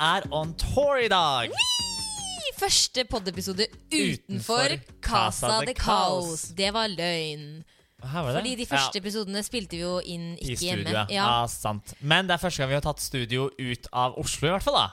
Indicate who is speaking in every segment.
Speaker 1: er on tour i dag!
Speaker 2: Første poddepisode utenfor
Speaker 1: Utenfor
Speaker 2: Casa
Speaker 1: Casa de
Speaker 2: de Caos.
Speaker 1: Caos.
Speaker 2: Det var løgn.
Speaker 1: Her var det.
Speaker 2: Fordi de første episodene spilte vi jo inn
Speaker 1: I
Speaker 2: ikke
Speaker 1: studio,
Speaker 2: hjemme.
Speaker 1: ja. Ah, sant. Men det er første gang vi har tatt studio ut av Oslo, i hvert fall. da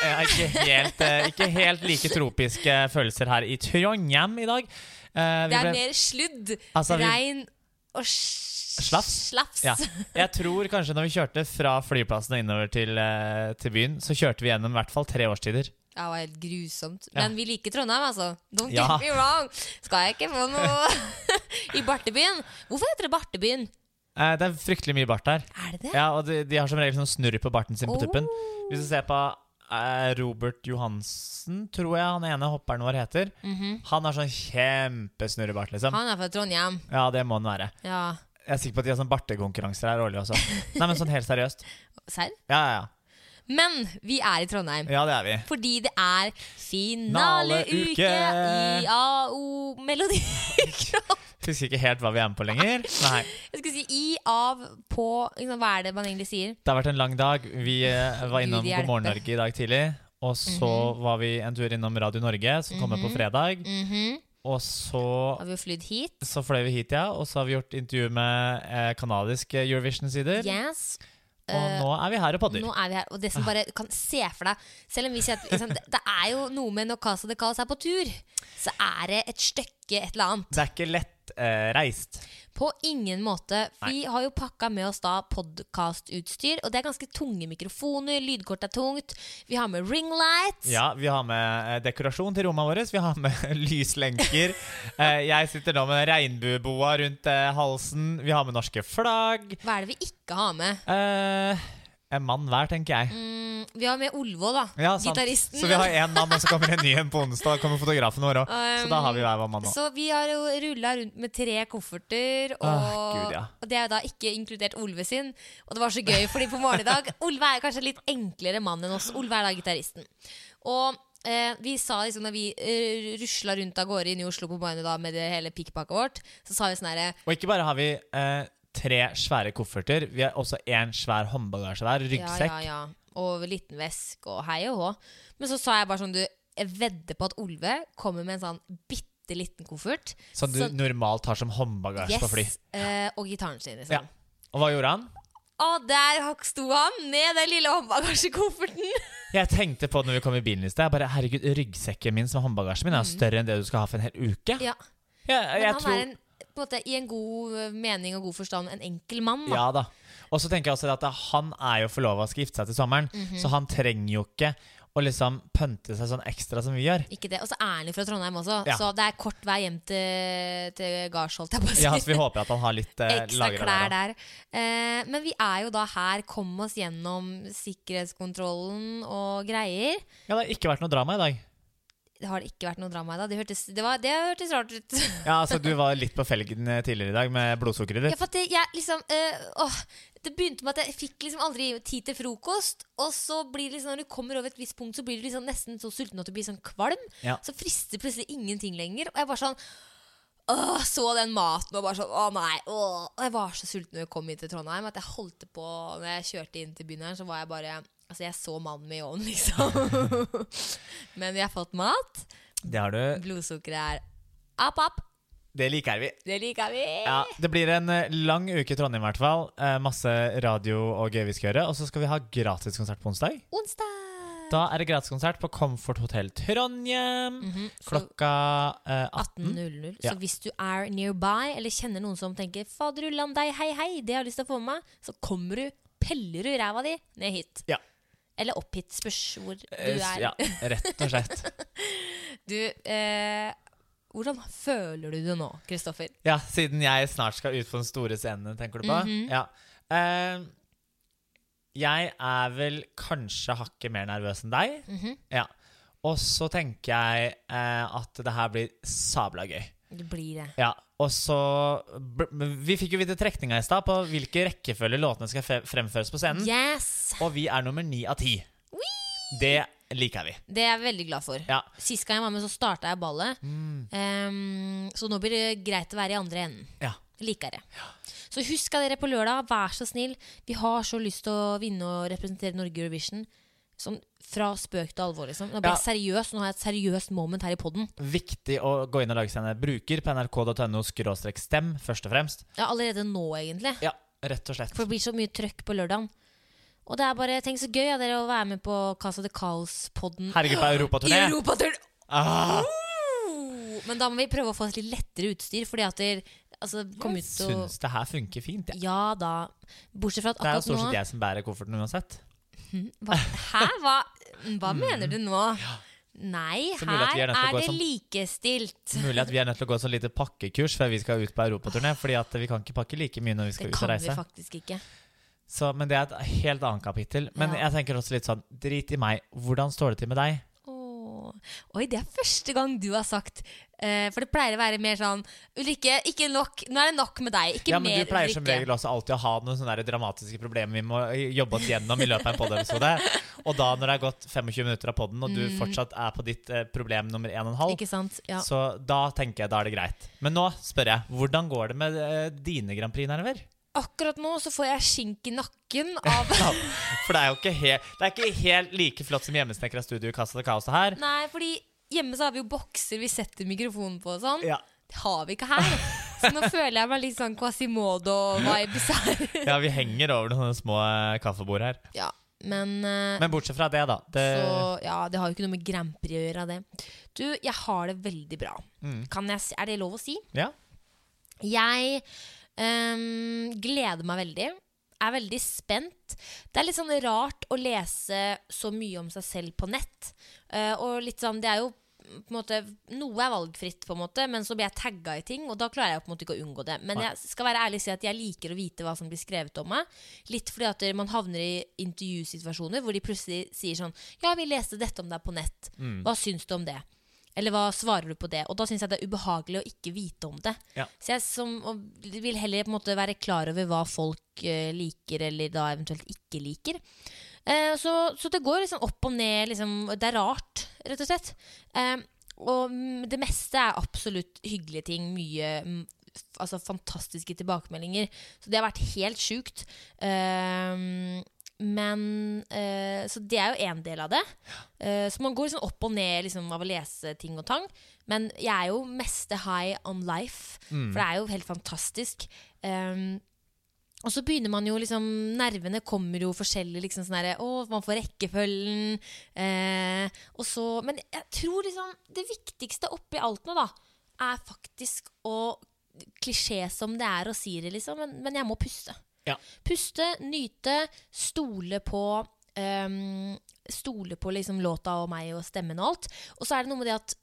Speaker 1: ja, ikke, helt, eh, ikke helt like tropiske følelser her i Trondheim i dag. Eh, vi
Speaker 2: Det er
Speaker 1: ble-
Speaker 2: mer sludd,
Speaker 1: Altså, vi-
Speaker 2: regn og s-
Speaker 1: Slafs?
Speaker 2: slafs.
Speaker 1: Ja. Jeg tror kanskje når vi kjørte fra flyplassen og innover til, eh, til byen, så kjørte vi gjennom i hvert fall tre årstider.
Speaker 2: Det var helt grusomt.
Speaker 1: Ja.
Speaker 2: Men vi liker Trondheim, altså. Don't
Speaker 1: Ja.
Speaker 2: get me wrong. Skal jeg ikke få noe i Bartebyen? Hvorfor heter det Bartebyen?
Speaker 1: Eh, det er fryktelig mye bart der.
Speaker 2: Er det det?
Speaker 1: Ja, og de, de har som regel sånn snurr på barten sin på tuppen. Hvis du ser på eh, Robert Johansen, tror jeg han ene hopperen vår heter. Han har sånn kjempesnurrebart, liksom.
Speaker 2: Mhm. Han er fra Trondheim.
Speaker 1: Ja, det må han være.
Speaker 2: Ja.
Speaker 1: Jeg er sikker på at de har sånn bartekonkurranser her årlig også. Nei, men sånn helt seriøst.
Speaker 2: Serr?
Speaker 1: Ja, ja,
Speaker 2: Men vi er i Trondheim.
Speaker 1: ja. Ja, det er vi.
Speaker 2: Fordi det er
Speaker 1: Finaleuke!
Speaker 2: finaleuke i AO Melodi Grand
Speaker 1: Husker ikke helt hva vi er med på lenger. Nei.
Speaker 2: Jeg skulle si i, av, på liksom, Hva er det man egentlig sier?
Speaker 1: Det har vært en lang dag. Vi eh, var innom
Speaker 2: Gud hjelpe.
Speaker 1: God morgen Norge i dag tidlig. Og så var vi en tur innom Radio Norge, som kommer på fredag.
Speaker 2: Mhm.
Speaker 1: Og så,
Speaker 2: Har vi jo flydd hit?
Speaker 1: så fløy vi hit, ja. Og så har vi gjort intervju med eh, kanadiske Eurovision-sider.
Speaker 2: Yes.
Speaker 1: Og nå er vi her og podder.
Speaker 2: eh, Nå er vi her. Og det som bare kan se for deg Selv om vi sier at ikke sant, det er jo noe med når Casa de Caos er på tur, så er det et stykke et eller annet.
Speaker 1: Det er ikke lett eh, reist.
Speaker 2: På ingen måte. Vi har jo pakka med oss da podkastutstyr, og det er ganske tunge mikrofoner, lydkort er tungt, vi har med ringlights.
Speaker 1: Ja, vi har med eh, dekorasjon til rommene våre. Vi har med lyslenker. Eh, jeg sitter nå med regnbueboa rundt eh, halsen. Vi har med norske flagg.
Speaker 2: Hva er det vi ikke har med?
Speaker 1: Eh, en mann hver, tenker jeg.
Speaker 2: Mm, vi har med Olvål, da.
Speaker 1: Ja, sant.
Speaker 2: Gitaristen.
Speaker 1: Så vi har én mann, og så kommer en ny en på onsdag. Og kommer fotografen vår òg. Så da har vi hver vår mann nå.
Speaker 2: Så vi har jo rulla rundt med tre kofferter, og,
Speaker 1: Åh, Gud, ja.
Speaker 2: og det er jo da ikke inkludert Olve sin. Og det var så gøy, fordi på morgenen i dag Olve er jo kanskje en litt enklere mann enn oss. Olve er da gitaristen. Og eh, vi sa liksom da vi eh, rusla rundt av gårde inn i Oslo på morgenen da med det hele pikkpakket vårt, så sa vi sånn herre
Speaker 1: Og ikke bare har vi eh, tre svære kofferter, vi har også én svær håndbagasje hver. Ryggsekk.
Speaker 2: Ja, ja, ja. Og liten vesk og hei og hå. Men så sa jeg bare sånn, du, jeg vedder på at Olve kommer med en sånn bitte liten koffert.
Speaker 1: Som du
Speaker 2: Sånn-
Speaker 1: normalt har som håndbagasje på fly.
Speaker 2: eh, og gitaren sin,
Speaker 1: Ja.
Speaker 2: liksom.
Speaker 1: Og hva gjorde han?
Speaker 2: Og der sto han med den lille håndbagasjekofferten!
Speaker 1: Jeg tenkte på det når vi kom i bilen i sted. Jeg bare, herregud, Ryggsekken min som er håndbagasjen min er jo større enn det du skal ha for en hel uke.
Speaker 2: Mm. Ja,
Speaker 1: Jeg,
Speaker 2: men
Speaker 1: jeg
Speaker 2: han
Speaker 1: tror,
Speaker 2: er en, på en måte, i en god eh, mening og god forstand en enkel mann. Da.
Speaker 1: Ja da. Og så tenker jeg også at han er jo forlova og skal gifte seg til sommeren,
Speaker 2: Mhm.
Speaker 1: så han trenger jo ikke å liksom pønte seg sånn ekstra som vi gjør.
Speaker 2: Ikke det, Og så er han jo fra Trondheim også,
Speaker 1: Ja.
Speaker 2: så det er kort vei hjem til, til gards, holdt jeg på å si.
Speaker 1: Ja, så vi håper at han har litt eh,
Speaker 2: Ekstra
Speaker 1: lagra
Speaker 2: klær der. Eh, men vi er jo da her, kom oss gjennom sikkerhetskontrollen og greier.
Speaker 1: Ja, det har ikke vært noe drama i dag.
Speaker 2: Det har ikke vært noe drama i dag. Det hørtes, det var, det hørtes rart ut.
Speaker 1: Ja, altså Du var litt på felgen eh, tidligere i dag med
Speaker 2: Ja,
Speaker 1: blodsukkeret ditt.
Speaker 2: for at det, jeg liksom eh, åh, Det begynte med at jeg fikk liksom aldri tid til frokost. Og så blir det liksom, når du kommer over et visst punkt, så blir du liksom nesten så sulten at du blir sånn kvalm.
Speaker 1: Ja.
Speaker 2: Så frister plutselig ingenting lenger. Og jeg bare sånn Åh, så den maten og bare sånn Å, nei. Åh. Og jeg var så sulten når jeg kom hit til Trondheim at jeg holdt på Når jeg kjørte inn til byen her, så var jeg bare Altså, jeg så mannen med i ovnen, liksom. Men vi har fått mat.
Speaker 1: Det har du.
Speaker 2: Blodsukkeret er app, app.
Speaker 1: Det liker vi.
Speaker 2: Det liker vi.
Speaker 1: Ja, Det blir en eh, lang uke i Trondheim i hvert fall. Eh, Masse radio og gøy vi skal gjøre. Og så skal vi ha gratiskonsert på onsdag.
Speaker 2: Onsdag.
Speaker 1: Da er det gratiskonsert på Comfort Hotel Trondheim
Speaker 2: Mhm, så-
Speaker 1: klokka eh, 18.
Speaker 2: 18.00.
Speaker 1: Ja.
Speaker 2: Så hvis du er nearby, eller kjenner noen som tenker 'Fader ulland deg, hei hei, det har jeg lyst til å få med meg', så kommer du, peller du ræva di ned hit.
Speaker 1: Ja.
Speaker 2: Eller opp hit, spørs hvor du
Speaker 1: Eh, s-
Speaker 2: er.
Speaker 1: Ja, rett og slett.
Speaker 2: Du, eh, hvordan føler du det nå, Kristoffer?
Speaker 1: Ja, siden jeg snart skal ut på den store scenen, tenker du på?
Speaker 2: Mhm.
Speaker 1: Ja. Eh, jeg er vel kanskje hakket mer nervøs enn deg.
Speaker 2: Mhm.
Speaker 1: Ja. Og så tenker jeg eh, at det her blir sabla gøy.
Speaker 2: Det blir det.
Speaker 1: Ja, og så bl- men Vi fikk jo vite trekninga i stad på hvilke rekkefølge låtene skal fe- fremføres på scenen.
Speaker 2: Yes!
Speaker 1: Og vi er nummer ni av ti. Det liker vi.
Speaker 2: Det er jeg veldig glad for.
Speaker 1: Ja. Mm.
Speaker 2: Sist gang jeg var med, så starta jeg ballet. Ehm, så nå blir det greit å være i andre enden.
Speaker 1: ja.
Speaker 2: Liker det. Så husk av dere på lørdag, vær så snill. Vi har så lyst til å vinne og representere Norge i Eurovision. Sånn fra spøk til alvor, liksom. Nå ble jeg seriøs, nå har jeg et seriøst moment her i poden.
Speaker 1: Viktig å gå inn og lage seg en bruker på nrk.no skråstrek stem, først og fremst.
Speaker 2: Ja, allerede nå, egentlig.
Speaker 1: Ja, rett og slett.
Speaker 2: For det blir så mye trøkk på lørdagen. Og det er bare Tenk så gøy av dere å være med på Casa de Caos-podden.
Speaker 1: Herregud, på
Speaker 2: I
Speaker 1: europaturné!
Speaker 2: Europaturn!
Speaker 1: Ah,
Speaker 2: Oh! Men da må vi prøve å få et litt lettere utstyr, fordi at der, altså, kom
Speaker 1: jeg
Speaker 2: ut og
Speaker 1: syns det her funker fint. jeg.
Speaker 2: Ja da. Bortsett fra at
Speaker 1: Det er jo
Speaker 2: akkurat
Speaker 1: stort sett
Speaker 2: nå
Speaker 1: jeg som bærer kofferten uansett.
Speaker 2: hva, Hæ? Hva, hva mener du nå? Nei,
Speaker 1: Mm. Så mulig at vi
Speaker 2: her
Speaker 1: er sånn- nødt til å
Speaker 2: er
Speaker 1: gå
Speaker 2: det
Speaker 1: som-
Speaker 2: likestilt.
Speaker 1: Mulig at vi er nødt til å gå et sånn lite pakkekurs før vi skal ut på europaturné. Fordi at vi kan ikke pakke like mye når vi
Speaker 2: Det
Speaker 1: skal ut og
Speaker 2: kan vi
Speaker 1: reise.
Speaker 2: faktisk ikke.
Speaker 1: Så, men det er et helt annet kapittel. Men
Speaker 2: Ja.
Speaker 1: jeg tenker også litt sånn Drit i meg. Hvordan står det til med deg?
Speaker 2: Åh. Oi, det er første gang du har sagt eh, For det pleier å være mer sånn Ulrikke, ikke nok. Nå er det nok med deg. Ikke
Speaker 1: ja, men
Speaker 2: mer,
Speaker 1: Du pleier som
Speaker 2: Ulrikke.
Speaker 1: regel også alltid å ha noen sånne der dramatiske problemer vi må eh, jobbe oss gjennom i løpet av en podiepisode. Og da når det har gått 25 minutter av poden, og du fortsatt er på ditt eh, problem nummer 1,5,
Speaker 2: Mm. Ikke sant? Ja.
Speaker 1: så da tenker jeg da er det greit. Men nå spør jeg. Hvordan går det med eh, dine Grand Prix-nerver?
Speaker 2: Akkurat nå så får jeg skink i nakken av
Speaker 1: Ja, For det er jo ikke helt, det er ikke helt like flott som hjemmesnekra studio i Casa de Caosa her.
Speaker 2: Nei, fordi hjemme så har vi jo bokser vi setter mikrofonen på og sånn.
Speaker 1: Ja.
Speaker 2: Det har vi ikke her. Så nå føler jeg meg litt sånn Quasimodo-vibes her.
Speaker 1: ja, vi henger over noen sånne små eh, kaffebord her.
Speaker 2: Ja, men, eh,
Speaker 1: Men bortsett fra det, da. Det,
Speaker 2: Så ja, det har jo ikke noe med Grand Prix å gjøre, det. Du, jeg har det veldig bra. Kan jeg, si- er det lov å si?
Speaker 1: ja.
Speaker 2: Jeg ehm, gleder meg veldig. Er veldig spent. Det er litt sånn rart å lese så mye om seg selv på nett. Eh, og litt sånn, det er jo på en måte, Noe er valgfritt, på en måte, men så blir jeg tagga i ting, og da klarer jeg på en måte ikke å unngå det. Men
Speaker 1: Nei.
Speaker 2: jeg skal være ærlig og si at jeg liker å vite hva som blir skrevet om meg. Litt fordi at man havner i intervjusituasjoner hvor de plutselig sier sånn Ja, vi leste dette om deg på nett. Hva syns du om det? Eller hva svarer du på det? Og da syns jeg det er ubehagelig å ikke vite om det.
Speaker 1: Ja.
Speaker 2: Så jeg som, og vil heller på en måte være klar over hva folk eh, liker, eller da eventuelt ikke liker. Eh, så, så det går liksom opp og ned. Liksom, det er rart, rett og slett. Eh, og mm, det meste er absolutt hyggelige ting. Mye mm, f- altså, fantastiske tilbakemeldinger. Så det har vært helt sjukt. Eh, men eh, Så det er jo én del av det. Eh, så man går liksom opp og ned liksom, av å lese ting og tang. Men jeg er jo meste high on life,
Speaker 1: Mm.
Speaker 2: for det er jo helt fantastisk. Ehm, og så begynner man jo liksom Nervene kommer jo forskjellig. liksom sånn derre, Å, man får rekkefølgen. Eh, og så Men jeg tror liksom det viktigste oppi alt nå, da, er faktisk å Klisjé som det er å si det, liksom, men, men jeg må puste.
Speaker 1: Ja.
Speaker 2: Puste, nyte, stole på ehm, Stole på liksom låta og meg og stemmen og alt. Og så er det noe med det at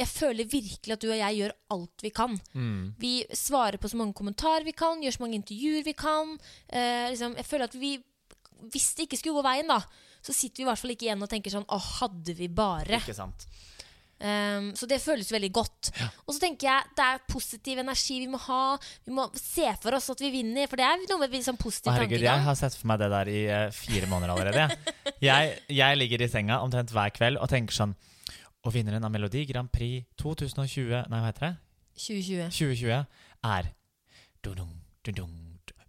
Speaker 2: jeg føler virkelig at du og jeg gjør alt vi kan.
Speaker 1: Mm.
Speaker 2: Vi svarer på så mange kommentarer vi kan, gjør så mange intervjuer vi kan. Eh, liksom, jeg føler at vi, Hvis det ikke skulle gå veien, da, så sitter vi i hvert fall ikke igjen og tenker sånn Å, hadde vi bare?
Speaker 1: Ikke sant.
Speaker 2: Um, så det føles veldig godt. Og så tenker jeg det er positiv energi vi må ha. Vi må se for oss at vi vinner, for det er noe med sånn
Speaker 1: Å,
Speaker 2: positiv
Speaker 1: herregud, jeg
Speaker 2: tankegang.
Speaker 1: har sett for meg det der i eh, fire måneder allerede. jeg. Jeg, jeg ligger i senga omtrent hver kveld og tenker sånn Og vinneren av Melodi Grand Prix 2020 Nei, hva heter det?
Speaker 2: 2020.
Speaker 1: 2020 er dun-dung, dun-dung,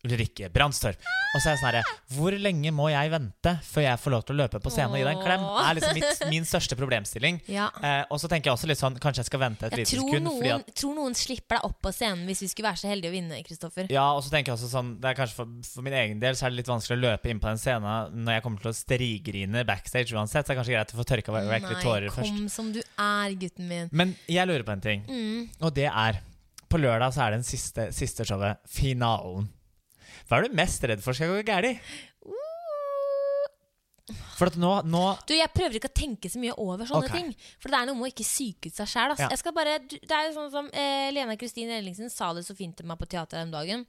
Speaker 1: Ulrikke Brandstorp. Og så er jeg sånn herre Hvor lenge må jeg vente før jeg får lov til å løpe på scenen og gi deg en klem? Det er liksom mitt, min største problemstilling.
Speaker 2: Ja.
Speaker 1: Eh, og så tenker jeg også litt sånn Kanskje jeg skal vente et
Speaker 2: Jeg
Speaker 1: lite
Speaker 2: tror
Speaker 1: sekund. Fordi
Speaker 2: noen,
Speaker 1: at,
Speaker 2: tror noen slipper deg opp på scenen hvis vi skulle være så heldige å vinne, Kristoffer.
Speaker 1: ja, og så tenker jeg også sånn Det er kanskje for, for min egen del Så er det litt vanskelig å løpe inn på den scenen når jeg kommer til å strigrine backstage uansett. Så er det kanskje greit å få tørka vekk
Speaker 2: Nei,
Speaker 1: litt tårer først.
Speaker 2: kom som du er, gutten min.
Speaker 1: Men jeg lurer på en ting,
Speaker 2: Mm.
Speaker 1: og det er På lørdag så er det den siste, siste showet, finalen. Hva er du mest redd for skal gå galt? For at nå, nå
Speaker 2: Du, Jeg prøver ikke å tenke så mye over sånne
Speaker 1: Ok.
Speaker 2: ting. For det er noe med å ikke syke ut seg sjæl.
Speaker 1: Ja.
Speaker 2: Det er jo sånn som eh, Lena Kristin Ellingsen sa det så fint til meg på teateret den dagen,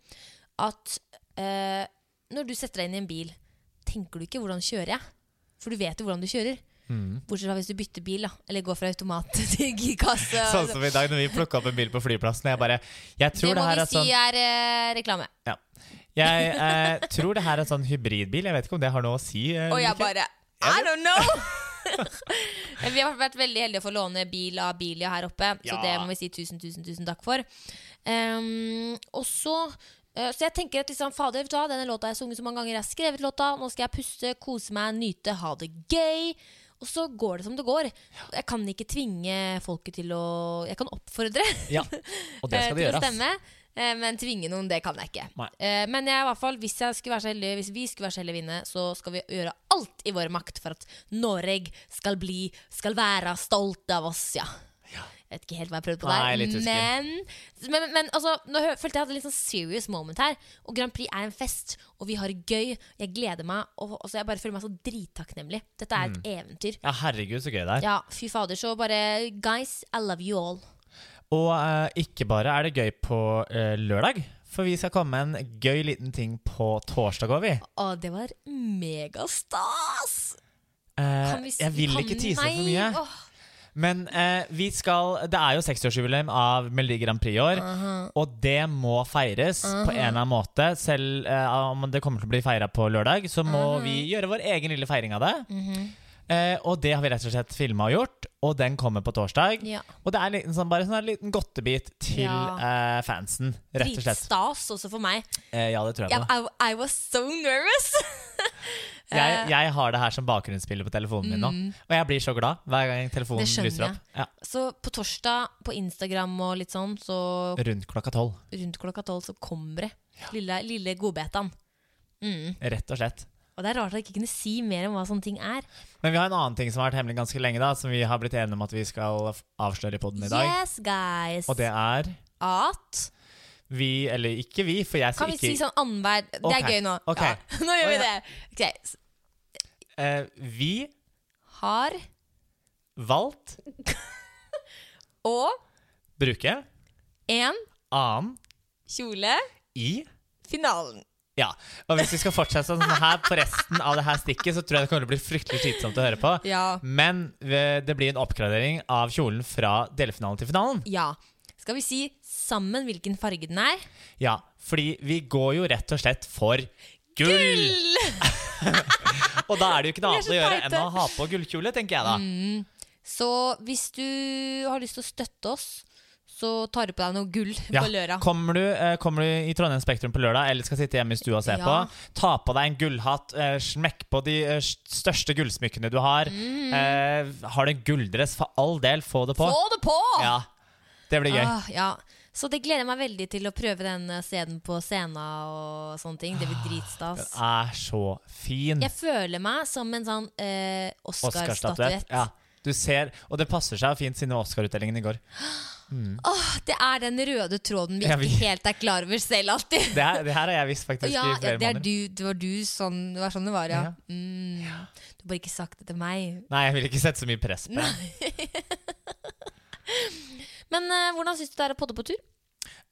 Speaker 2: at eh, når du setter deg inn i en bil, tenker du ikke 'hvordan kjører jeg'? For du vet jo hvordan du kjører.
Speaker 1: Mm.
Speaker 2: Bortsett fra hvis du bytter bil, da. Eller går fra automat til girkasse.
Speaker 1: Sånn som i dag når vi plukka opp en bil på flyplassen. Jeg bare Jeg
Speaker 2: det
Speaker 1: tror det,
Speaker 2: må
Speaker 1: her
Speaker 2: vi
Speaker 1: er
Speaker 2: si
Speaker 1: sånn
Speaker 2: er eh, reklame.
Speaker 1: Jeg eh, tror det her er sånn hybridbil. Jeg vet ikke om det har noe å si. eh,
Speaker 2: Og jeg
Speaker 1: Ulrikke.
Speaker 2: bare I don't know! vi har vært veldig heldige å få låne bil av Bilia her oppe, så
Speaker 1: Ja.
Speaker 2: det må vi si tusen, tusen, tusen takk for. Ehm, og så Eh, Så jeg tenker at liksom, fader, vet du hva, denne låta har jeg sunget så mange ganger, jeg har skrevet låta, nå skal jeg puste, kose meg, nyte, ha det gøy. Og så går det som det går. Jeg kan ikke tvinge folket til å Jeg kan oppfordre
Speaker 1: Ja, og det skal
Speaker 2: eh,
Speaker 1: de
Speaker 2: til
Speaker 1: gjøre.
Speaker 2: å
Speaker 1: ass.
Speaker 2: stemme. eh, Men tvinge noen, det kan jeg ikke.
Speaker 1: Nei.
Speaker 2: Eh, Men jeg, i hvert fall, hvis, jeg skulle være så heldig, hvis vi skulle være så heldige å vinne, så skal vi gjøre alt i vår makt for at Norge skal bli, skal være stolt av oss, ja. Jeg vet ikke helt hva jeg prøvde på
Speaker 1: Nei, litt
Speaker 2: der.
Speaker 1: husker.
Speaker 2: Men, men, men altså, nå hø- følte jeg hadde litt sånn serious moment her. Og Grand Prix er en fest, og vi har det gøy. Jeg gleder meg, og, og så jeg bare føler meg så drittakknemlig. Dette
Speaker 1: Mm.
Speaker 2: er et eventyr.
Speaker 1: Ja, herregud, så gøy det er.
Speaker 2: Ja, fy fader. Så bare Guys, I love you all.
Speaker 1: Og eh, ikke bare er det gøy på eh, lørdag, for vi skal komme med en gøy liten ting på torsdag òg, vi.
Speaker 2: Å, det var megastas!
Speaker 1: Eh,
Speaker 2: Kan vi si-
Speaker 1: jeg vil
Speaker 2: kan-
Speaker 1: ikke tease
Speaker 2: nei,
Speaker 1: for mye.
Speaker 2: åh.
Speaker 1: Men eh, vi skal Det er jo 60-årsjubileum av Melodi Grand Prix i år. Og det må feires på en eller annen måte. Selv eh, om det kommer til å bli feira på lørdag, så må vi gjøre vår egen lille feiring av det.
Speaker 2: Mhm.
Speaker 1: eh, og det har vi rett og slett filma og gjort, og den kommer på torsdag.
Speaker 2: Ja.
Speaker 1: Og det er en liten sånn, bare sånn en liten godtebit til
Speaker 2: Ja.
Speaker 1: eh, fansen, rett og slett.
Speaker 2: Dritstas også for meg.
Speaker 1: Eh, ja, det tror jeg
Speaker 2: Jeg,
Speaker 1: på.
Speaker 2: I, I was so nervous! eh,
Speaker 1: Jeg, jeg har det her som bakgrunnsbilde på telefonen min nå. Og jeg blir så glad hver gang
Speaker 2: Mm.
Speaker 1: telefonen
Speaker 2: Det skjønner
Speaker 1: lyser opp. Ja,
Speaker 2: Så på torsdag på Instagram og litt sånn, så
Speaker 1: rundt klokka tolv.
Speaker 2: rundt klokka tolv så kommer det. Lille, lille godbetaen. Mm.
Speaker 1: Rett og slett.
Speaker 2: Og det er rart at jeg ikke kunne si mer om hva sånne ting er.
Speaker 1: Men vi har en annen ting som har vært hemmelig ganske lenge, da, som vi har blitt enige om at vi skal f- avsløre i poden i dag.
Speaker 2: Yes, guys!
Speaker 1: Og det er
Speaker 2: At
Speaker 1: vi, eller ikke vi, for jeg
Speaker 2: Kan
Speaker 1: sier
Speaker 2: vi
Speaker 1: ikke
Speaker 2: si sånn annenhver Det
Speaker 1: Ok,
Speaker 2: er gøy nå.
Speaker 1: ok.
Speaker 2: Ja, nå gjør
Speaker 1: Å,
Speaker 2: vi
Speaker 1: ja.
Speaker 2: det. Ok, s-
Speaker 1: eh, Vi
Speaker 2: Har
Speaker 1: valgt
Speaker 2: og
Speaker 1: bruke
Speaker 2: en
Speaker 1: annen
Speaker 2: kjole
Speaker 1: i
Speaker 2: finalen.
Speaker 1: ja, og Hvis vi skal fortsette sånn her på resten av det her stikket, så tror jeg det kommer til å bli fryktelig slitsomt å høre på.
Speaker 2: Ja.
Speaker 1: Men eh, det blir en oppgradering av kjolen fra delfinalen til finalen.
Speaker 2: Ja. Skal vi si sammen hvilken farge den er?
Speaker 1: Ja, fordi vi går jo rett og slett for gull! og da er det jo ikke noe
Speaker 2: Vi er så Mm,
Speaker 1: annet å gjøre
Speaker 2: teite.
Speaker 1: enn å ha på gullkjole, tenker jeg da.
Speaker 2: Så hvis du har lyst til å støtte oss, så tar du på deg noe gull
Speaker 1: Ja.
Speaker 2: på lørdag.
Speaker 1: Kommer, du, eh, kommer du i Trondheim Spektrum på lørdag, eller skal sitte hjemme i stua og se
Speaker 2: Ja.
Speaker 1: på, ta på deg en gullhatt, eh, smekk på de eh, største gullsmykkene du har. Eh, har du en gulldress, for all del, få det på.
Speaker 2: Mm. Få det på!
Speaker 1: Ja, det blir gøy.
Speaker 2: Ah, ja. Så det gleder jeg meg veldig til å prøve den eh, scenen på scenen og sånne ting. Det blir dritstas.
Speaker 1: Den er så fin.
Speaker 2: Jeg føler meg som en sånn eh, Oscar-statuett.
Speaker 1: Ja. Du ser, og det passer seg fint siden det var Oscar-utdelingen i går.
Speaker 2: Det er den røde tråden vi
Speaker 1: Ja, vi-
Speaker 2: ikke helt er klar over selv alltid.
Speaker 1: Det, her- det her har jeg visst faktisk
Speaker 2: Ja,
Speaker 1: i
Speaker 2: ja,
Speaker 1: flere
Speaker 2: det, er
Speaker 1: måneder.
Speaker 2: du, det var du sånn det var sånn det var, ja.
Speaker 1: Ja.
Speaker 2: Mm. Du har bare ikke sagt det til meg.
Speaker 1: Nei, jeg vil ikke sette så mye press på det.
Speaker 2: Men eh, hvordan syns du det er å podde på tur?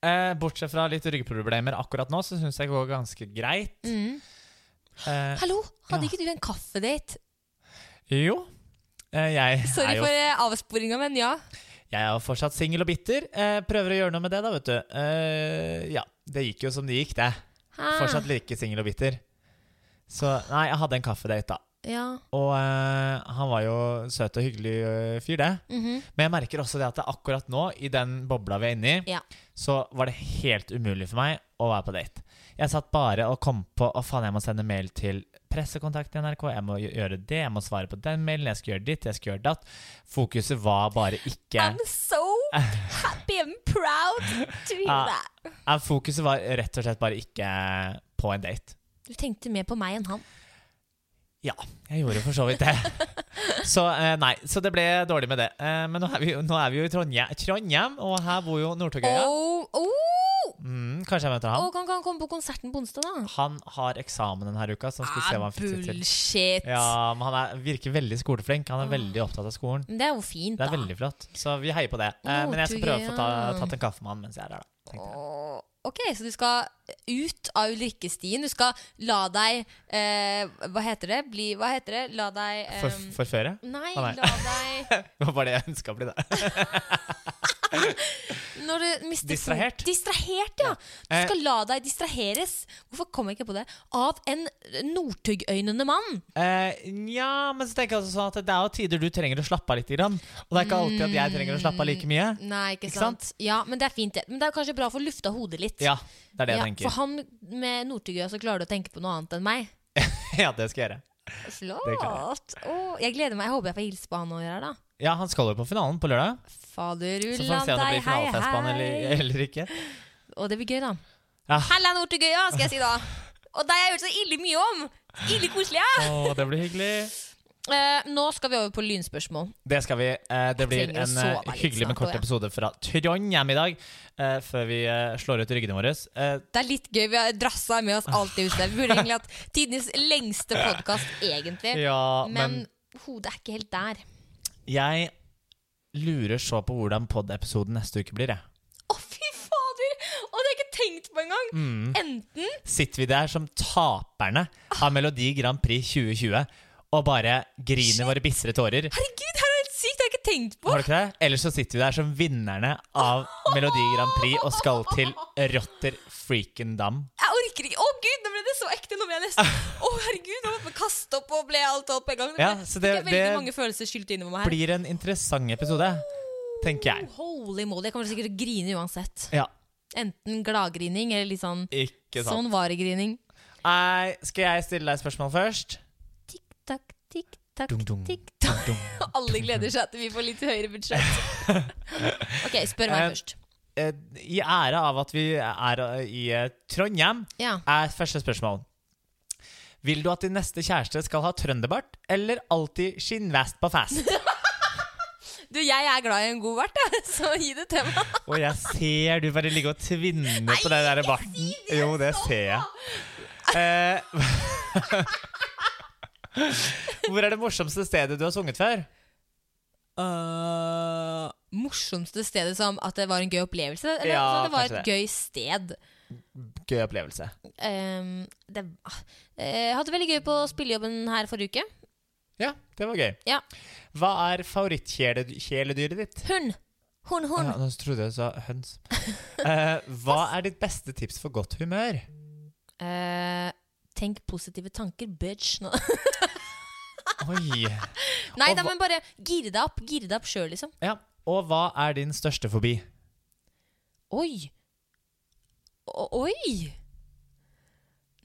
Speaker 1: Eh, bortsett fra litt ryggproblemer akkurat nå, så syns jeg det går ganske greit. Eh,
Speaker 2: Hallo, hadde
Speaker 1: Mm. ja.
Speaker 2: ikke du en kaffedate?
Speaker 1: jo. Eh, jeg,
Speaker 2: Sorry
Speaker 1: er jo,
Speaker 2: for eh, avsporinga, men ja.
Speaker 1: jeg er jo fortsatt singel og bitter. Eh, prøver å gjøre noe med det, da, vet du. Eh, ja, det gikk jo som det gikk, det.
Speaker 2: Hæ?
Speaker 1: Fortsatt like singel og bitter. Så nei, jeg hadde en kaffedate, da.
Speaker 2: Ja.
Speaker 1: Og eh, han var jo søt og hyggelig eh, fyr, det.
Speaker 2: mhm.
Speaker 1: Men jeg merker også det at det er akkurat nå, i den bobla vi er inni,
Speaker 2: Ja.
Speaker 1: så var det helt umulig for meg å være på date. Jeg satt bare og kom på å faen, jeg må sende mail til pressekontakt i NRK, jeg må gjø- gjøre det, jeg må svare på den mailen, jeg skal gjøre ditt, jeg skal gjøre datt. Fokuset var bare ikke
Speaker 2: I'm so happy and proud to hear
Speaker 1: Ja.
Speaker 2: that.
Speaker 1: Ja, Fokuset var rett og slett bare ikke på en date.
Speaker 2: Du tenkte mer på meg enn han.
Speaker 1: Jeg gjorde for så vidt det. Så eh, nei, så det ble dårlig med det. Eh, men nå er, vi, jo- nå er vi jo i Trondheim, Trondheim og her bor jo Nord-Torgøya.
Speaker 2: Oh, oh!
Speaker 1: Mm, kanskje jeg møter han.
Speaker 2: Og kan han komme på konserten på onsdag, da?
Speaker 1: Han har eksamen denne uka, så han skulle se hva han fikk det til.
Speaker 2: Ah, bullshit!
Speaker 1: Ja, men han er, virker veldig skoleflink. Han er veldig opptatt av skolen.
Speaker 2: Men det er jo fint,
Speaker 1: Det
Speaker 2: da.
Speaker 1: er veldig flott. Så vi heier på det. Eh, men jeg skal prøve å få ta,
Speaker 2: Nordtug, ja.
Speaker 1: tatt en kaffe med han mens jeg er der, da. tenkte jeg.
Speaker 2: Åh, Ok, så du skal ut av ulrikkestien. Du skal la deg eh, Hva heter det? Bli, hva heter det? La deg eh,
Speaker 1: For, forføre?
Speaker 2: Nei,
Speaker 1: Å, Ah, nei.
Speaker 2: la deg
Speaker 1: Det var bare det jeg ønska å bli, da.
Speaker 2: Når du mister fo-
Speaker 1: Distrahert.
Speaker 2: Distrahert, ja. Du
Speaker 1: Eh.
Speaker 2: skal la deg distraheres. Hvorfor kom jeg ikke på det? Av en Northug-øynende mann.
Speaker 1: Eh, Nja, men så tenker jeg også sånn at det er jo tider du trenger å slappe av litt. Grann. Og det er ikke alltid at jeg trenger å slappe av like mye.
Speaker 2: Nei, ikke,
Speaker 1: Ikke sant?
Speaker 2: Ja, men det er fint, det. Men det er kanskje bra å få lufta hodet litt. shit.
Speaker 1: Ja, det er det
Speaker 2: Ja,
Speaker 1: jeg tenker.
Speaker 2: For han med Northugøya, så klarer du å tenke på noe annet enn meg.
Speaker 1: ja, det skal jeg gjøre. Det klarer
Speaker 2: Flott! Å, jeg gleder meg. Jeg håper jeg får hilse på han og gjøre det.
Speaker 1: Ja, han skal jo på finalen på lørdag.
Speaker 2: Fader
Speaker 1: Så får vi
Speaker 2: ullan
Speaker 1: se om det
Speaker 2: deg,
Speaker 1: blir
Speaker 2: hei,
Speaker 1: finalefest på han eller,
Speaker 2: hei.
Speaker 1: eller ikke.
Speaker 2: Og det blir gøy, da.
Speaker 1: Ja.
Speaker 2: Halla, Northugøya, skal jeg si da. Og deg har jeg hørt så ille mye om! Ille koselig, ja!
Speaker 1: Å, det blir hyggelig.
Speaker 2: Eh, nå skal vi over på lynspørsmål.
Speaker 1: Det skal vi. Eh, det blir
Speaker 2: trenger å
Speaker 1: en eh,
Speaker 2: sove litt
Speaker 1: hyggelig, men
Speaker 2: snart også,
Speaker 1: kort
Speaker 2: ja.
Speaker 1: episode fra Trondheim i dag. Eh, før vi eh, slår ut ryggene våre. Eh,
Speaker 2: Det er litt gøy. Vi har drassa med oss alt det huset. Vi burde egentlig hatt tidenes lengste podkast, egentlig.
Speaker 1: ja, men,
Speaker 2: Men hodet er ikke helt der.
Speaker 1: jeg lurer så på hvordan pod-episoden neste uke blir, jeg.
Speaker 2: Å, fy fader! Å, det har jeg ikke tenkt på engang!
Speaker 1: Mm.
Speaker 2: Enten
Speaker 1: Sitter vi der som taperne av Melodi Grand Prix 2020 og bare griner våre bitre tårer.
Speaker 2: Herregud, det er helt sykt! Det har jeg ikke tenkt på!
Speaker 1: Har du ikke det? Eller så sitter vi der som vinnerne av Melodi Grand Prix og skal til Rotter Freaking Dam.
Speaker 2: Jeg orker ikke! Å, gud, nå ble det så ekte! Nå ble jeg nesten Å, herregud! Nå måtte jeg kaste opp og ble alt alt på en gang. Nå ble-
Speaker 1: Ja, så det-
Speaker 2: fikk jeg veldig
Speaker 1: det-
Speaker 2: mange følelser skylt innover meg her.
Speaker 1: Blir en interessant episode, tenker jeg.
Speaker 2: Holy moly. Jeg kommer sikkert til å grine uansett.
Speaker 1: Ja,
Speaker 2: Enten gladgrining eller litt sånn
Speaker 1: ikke sant.
Speaker 2: sånn varegrining.
Speaker 1: Nei, skal jeg stille deg et spørsmål først?
Speaker 2: Tikk-takk, tikk-takk,
Speaker 1: Dung, dung,
Speaker 2: tikk-takk.
Speaker 1: dung, dung.
Speaker 2: Alle gleder seg til vi får litt høyere budsjett. Ok, spør
Speaker 1: Eh,
Speaker 2: meg først.
Speaker 1: Eh, I ære av at vi er eh, i eh, Trondheim,
Speaker 2: Ja.
Speaker 1: er første spørsmål. Vil du at din neste kjæreste skal ha trønderbart eller alltid skinnvest på fest?
Speaker 2: Du, jeg er glad i en god vert, jeg, så gi det til meg.
Speaker 1: Og jeg ser du bare ligger og tvinner på
Speaker 2: Nei,
Speaker 1: den der
Speaker 2: ikke
Speaker 1: barten.
Speaker 2: si det,
Speaker 1: Jo, det
Speaker 2: stopp
Speaker 1: ser jeg. Eh, Hvor er det morsomste stedet du har sunget før?
Speaker 2: Eh, Morsomste stedet som at det var en gøy opplevelse. Eller
Speaker 1: Ja,
Speaker 2: altså, det var et
Speaker 1: kanskje det.
Speaker 2: gøy sted.
Speaker 1: Gøy opplevelse.
Speaker 2: Ehm, det, ah, eh, jeg hadde det veldig gøy på spillejobben her forrige uke.
Speaker 1: Ja, det var gøy.
Speaker 2: Ja.
Speaker 1: Hva er favorittkjæledyret ditt?
Speaker 2: Hund! Hund, hund.
Speaker 1: Ja, nå trodde jeg du sa høns. Eh, hva er ditt beste tips for godt humør?
Speaker 2: Eh, tenk positive tanker, bitch. Nå-
Speaker 1: Oi.
Speaker 2: Nei
Speaker 1: Og
Speaker 2: da,
Speaker 1: hva-
Speaker 2: men bare gire deg opp. Gire deg opp sjøl, liksom.
Speaker 1: Ja. Og hva er din største fobi?
Speaker 2: Oi! O Oi!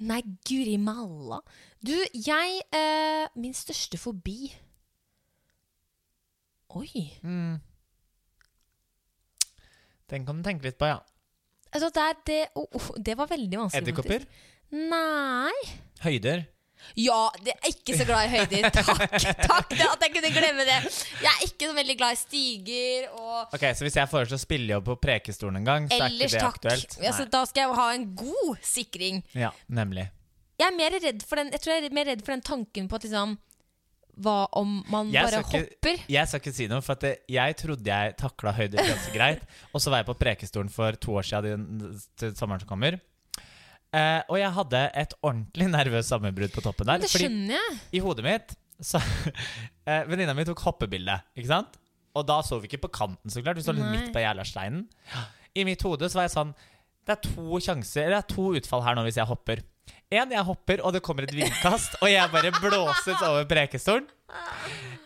Speaker 2: Nei, guri malla. Du, jeg eh, Min største fobi Oi.
Speaker 1: Mm. Den kan du tenke litt på, ja.
Speaker 2: Altså, det, er det, oh, oh, det var veldig vanskelig.
Speaker 1: Edderkopper?
Speaker 2: faktisk. Nei
Speaker 1: Høyder?
Speaker 2: Ja, det er ikke så glad i høyder. Takk! takk det, At jeg kunne glemme det. Jeg er ikke så veldig glad i stiger og
Speaker 1: Ok, Så hvis jeg foreslår spillejobb på Prekestolen en gang, så er ikke
Speaker 2: Ellers
Speaker 1: det
Speaker 2: takk.
Speaker 1: aktuelt?
Speaker 2: Altså, da skal jeg ha en god sikring.
Speaker 1: Nei. Ja, nemlig.
Speaker 2: Jeg er mer redd for den, jeg tror jeg er mer redd for den tanken på at liksom Hva om man
Speaker 1: Jeg
Speaker 2: bare
Speaker 1: skal ikke-
Speaker 2: hopper?
Speaker 1: Jeg skal ikke si noe, for at det- jeg trodde jeg takla høyder ganske greit. Og så var jeg på Prekestolen for to år siden, den- til sommeren som kommer. Eh, og jeg hadde et ordentlig nervøst sammenbrudd på toppen der.
Speaker 2: Det
Speaker 1: Fordi
Speaker 2: skjønner jeg.
Speaker 1: i hodet mitt så eh, Venninna mi tok hoppebilde, ikke sant? Og da så vi ikke på kanten, så klart. Vi så litt
Speaker 2: Nei.
Speaker 1: midt på jævlasteinen. I mitt hode så var jeg sånn Det er to sjanser, eller det er to utfall her nå hvis jeg hopper. Én, jeg hopper, og det kommer et vindkast, og jeg bare blåses over prekestolen.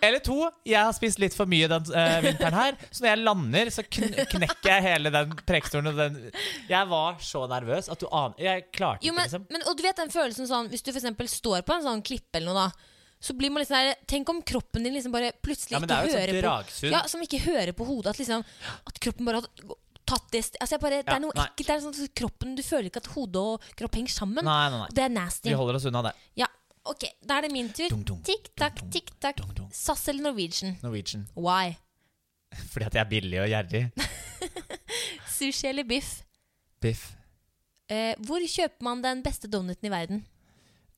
Speaker 1: Eller to, jeg har spist litt for mye den eh, vinteren her, så når jeg lander, så kn knekker jeg hele den prekestolen og den Jeg var så nervøs at du aner Jeg klarte
Speaker 2: Jo,
Speaker 1: ikke,
Speaker 2: men,
Speaker 1: liksom.
Speaker 2: men, og du vet den følelsen sånn Hvis du for eksempel står på en sånn klippe eller noe, da. Så blir man liksom der, Tenk om kroppen din liksom bare plutselig
Speaker 1: Ja, men det er jo
Speaker 2: ikke
Speaker 1: et sånt
Speaker 2: hører på
Speaker 1: dragsug.
Speaker 2: Ja, som ikke hører på hodet. At liksom At kroppen bare har tatt det st- altså jeg bare, Det
Speaker 1: Ja,
Speaker 2: er noe
Speaker 1: nei.
Speaker 2: ekkelt. Det er sånn at kroppen Du føler ikke at hode og kropp henger sammen.
Speaker 1: Nei, nei, nei.
Speaker 2: Det er nasty.
Speaker 1: Vi holder oss unna det.
Speaker 2: Ja, OK. Da er det min tur.
Speaker 1: Dunk, dunk,
Speaker 2: Tikk takk,
Speaker 1: dunk, dunk,
Speaker 2: tikk takk.
Speaker 1: dunk, dunk.
Speaker 2: SAS eller Norwegian?
Speaker 1: Norwegian.
Speaker 2: Why?
Speaker 1: Fordi at jeg er billig og gjerrig.
Speaker 2: Sushi eller biff?
Speaker 1: Biff.
Speaker 2: Eh, hvor kjøper man den beste donuten i verden?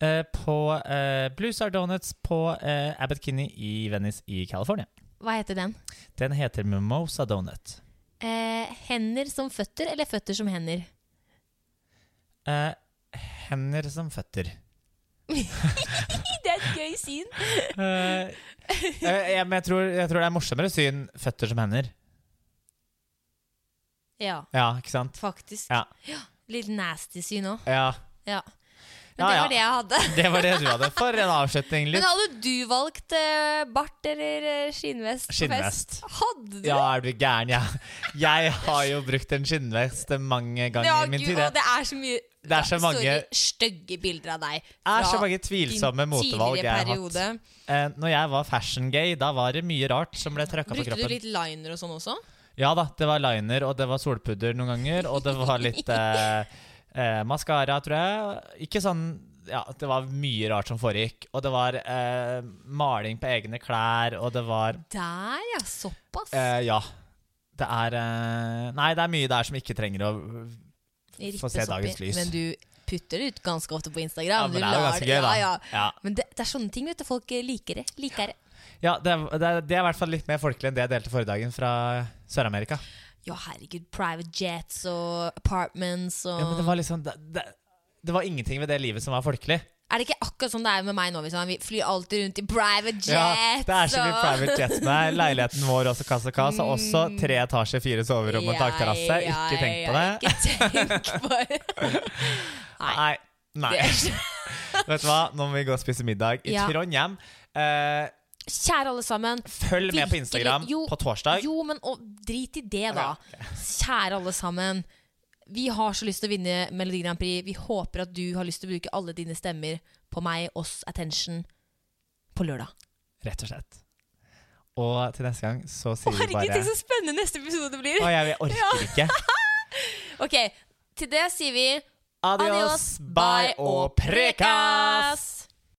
Speaker 1: Eh, på eh, Blue Star Donuts på eh, Abbot Kinney i Venice i California.
Speaker 2: Hva heter den?
Speaker 1: Den heter Mimosa Donut.
Speaker 2: Eh, hender som føtter, eller føtter som hender?
Speaker 1: Eh, hender som føtter.
Speaker 2: Det er et gøy syn.
Speaker 1: Eh, eh, jeg, men jeg tror, jeg tror det er morsommere syn føtter som hender.
Speaker 2: Ja,
Speaker 1: Ja, ikke sant?
Speaker 2: faktisk.
Speaker 1: Ja.
Speaker 2: Litt nasty syn òg.
Speaker 1: Ja.
Speaker 2: Ja. Men
Speaker 1: Ja,
Speaker 2: det
Speaker 1: ja.
Speaker 2: var det jeg hadde.
Speaker 1: Det var det du hadde. For en avslutning.
Speaker 2: Men
Speaker 1: Litt
Speaker 2: hadde du valgt eh, bart eller eh, skinnvest på
Speaker 1: skinnvest.
Speaker 2: fest? Hadde du?
Speaker 1: Ja, er du gæren? Ja. Jeg har jo brukt en skinnvest mange ganger
Speaker 2: Ja,
Speaker 1: i min
Speaker 2: gud,
Speaker 1: tid.
Speaker 2: og
Speaker 1: jeg.
Speaker 2: det er så mye
Speaker 1: Det er så mange,
Speaker 2: Sorry, stygge bilder av deg.
Speaker 1: det er så
Speaker 2: fra
Speaker 1: mange
Speaker 2: din
Speaker 1: tvilsomme motevalg jeg har
Speaker 2: tidligere
Speaker 1: hatt.
Speaker 2: periode.
Speaker 1: Eh, når jeg var fashion gay, da var det mye rart som ble trøkka på
Speaker 2: Brukte du
Speaker 1: kroppen.
Speaker 2: litt liner og sånn også?
Speaker 1: Ja da, det var liner, og det var solpudder noen ganger, og det var litt eh, eh, maskara, tror jeg. Ikke sånn Ja, det var mye rart som foregikk. Og det var eh, maling på egne klær, og det var
Speaker 2: Der, ja. Såpass.
Speaker 1: eh, Ja. Det er eh, Nei, det er mye der som ikke trenger å
Speaker 2: Rippes
Speaker 1: få se
Speaker 2: opp i.
Speaker 1: dagens lys.
Speaker 2: Men du putter det ut ganske ofte på Instagram.
Speaker 1: Ja, men
Speaker 2: Du
Speaker 1: det er jo
Speaker 2: lar
Speaker 1: ganske gøy, da.
Speaker 2: Ja, ja.
Speaker 1: Ja.
Speaker 2: Men det, det er sånne ting vet du, folk eh, liker det. Liker det.
Speaker 1: Ja, det, er- det, er- det er i hvert fall litt mer folkelig enn det jeg delte forrige dagen fra Sør-Amerika.
Speaker 2: Ja, herregud. Private jets og apartments og
Speaker 1: Ja, men det var liksom det, det, det var ingenting ved det livet som var folkelig.
Speaker 2: Er det ikke akkurat sånn det er med meg nå? Liksom? Vi flyr alltid rundt i private jets.
Speaker 1: Ja, det er så
Speaker 2: og-
Speaker 1: mye
Speaker 2: Mm.
Speaker 1: private jets med her. Leiligheten vår også Kasakas har også tre etasjer, fire soverom og
Speaker 2: Ja,
Speaker 1: takterrasse.
Speaker 2: ja,
Speaker 1: Ikke tenk på
Speaker 2: ja,
Speaker 1: det.
Speaker 2: Ikke tenk på det. Nei.
Speaker 1: Nei. Nei. Vet du hva, nå må vi gå og spise middag i
Speaker 2: Ja.
Speaker 1: Trondheim. Eh,
Speaker 2: Kjære alle sammen.
Speaker 1: følg med på
Speaker 2: Virkelig,
Speaker 1: Instagram
Speaker 2: jo,
Speaker 1: på torsdag.
Speaker 2: Jo, men og, drit i det, da.
Speaker 1: Ja,
Speaker 2: Kjære alle sammen. Vi har så lyst til å vinne Melodi Grand Prix. Vi håper at du har lyst til å bruke alle dine stemmer på meg, oss, attention, på lørdag.
Speaker 1: Rett og slett. Og til neste gang så
Speaker 2: Å,
Speaker 1: sier vi
Speaker 2: herregud,
Speaker 1: bare
Speaker 2: tenk så spennende neste episode blir!
Speaker 1: Å, jeg orker ikke.
Speaker 2: Ok, til det sier vi
Speaker 1: Adios, bye og prekas!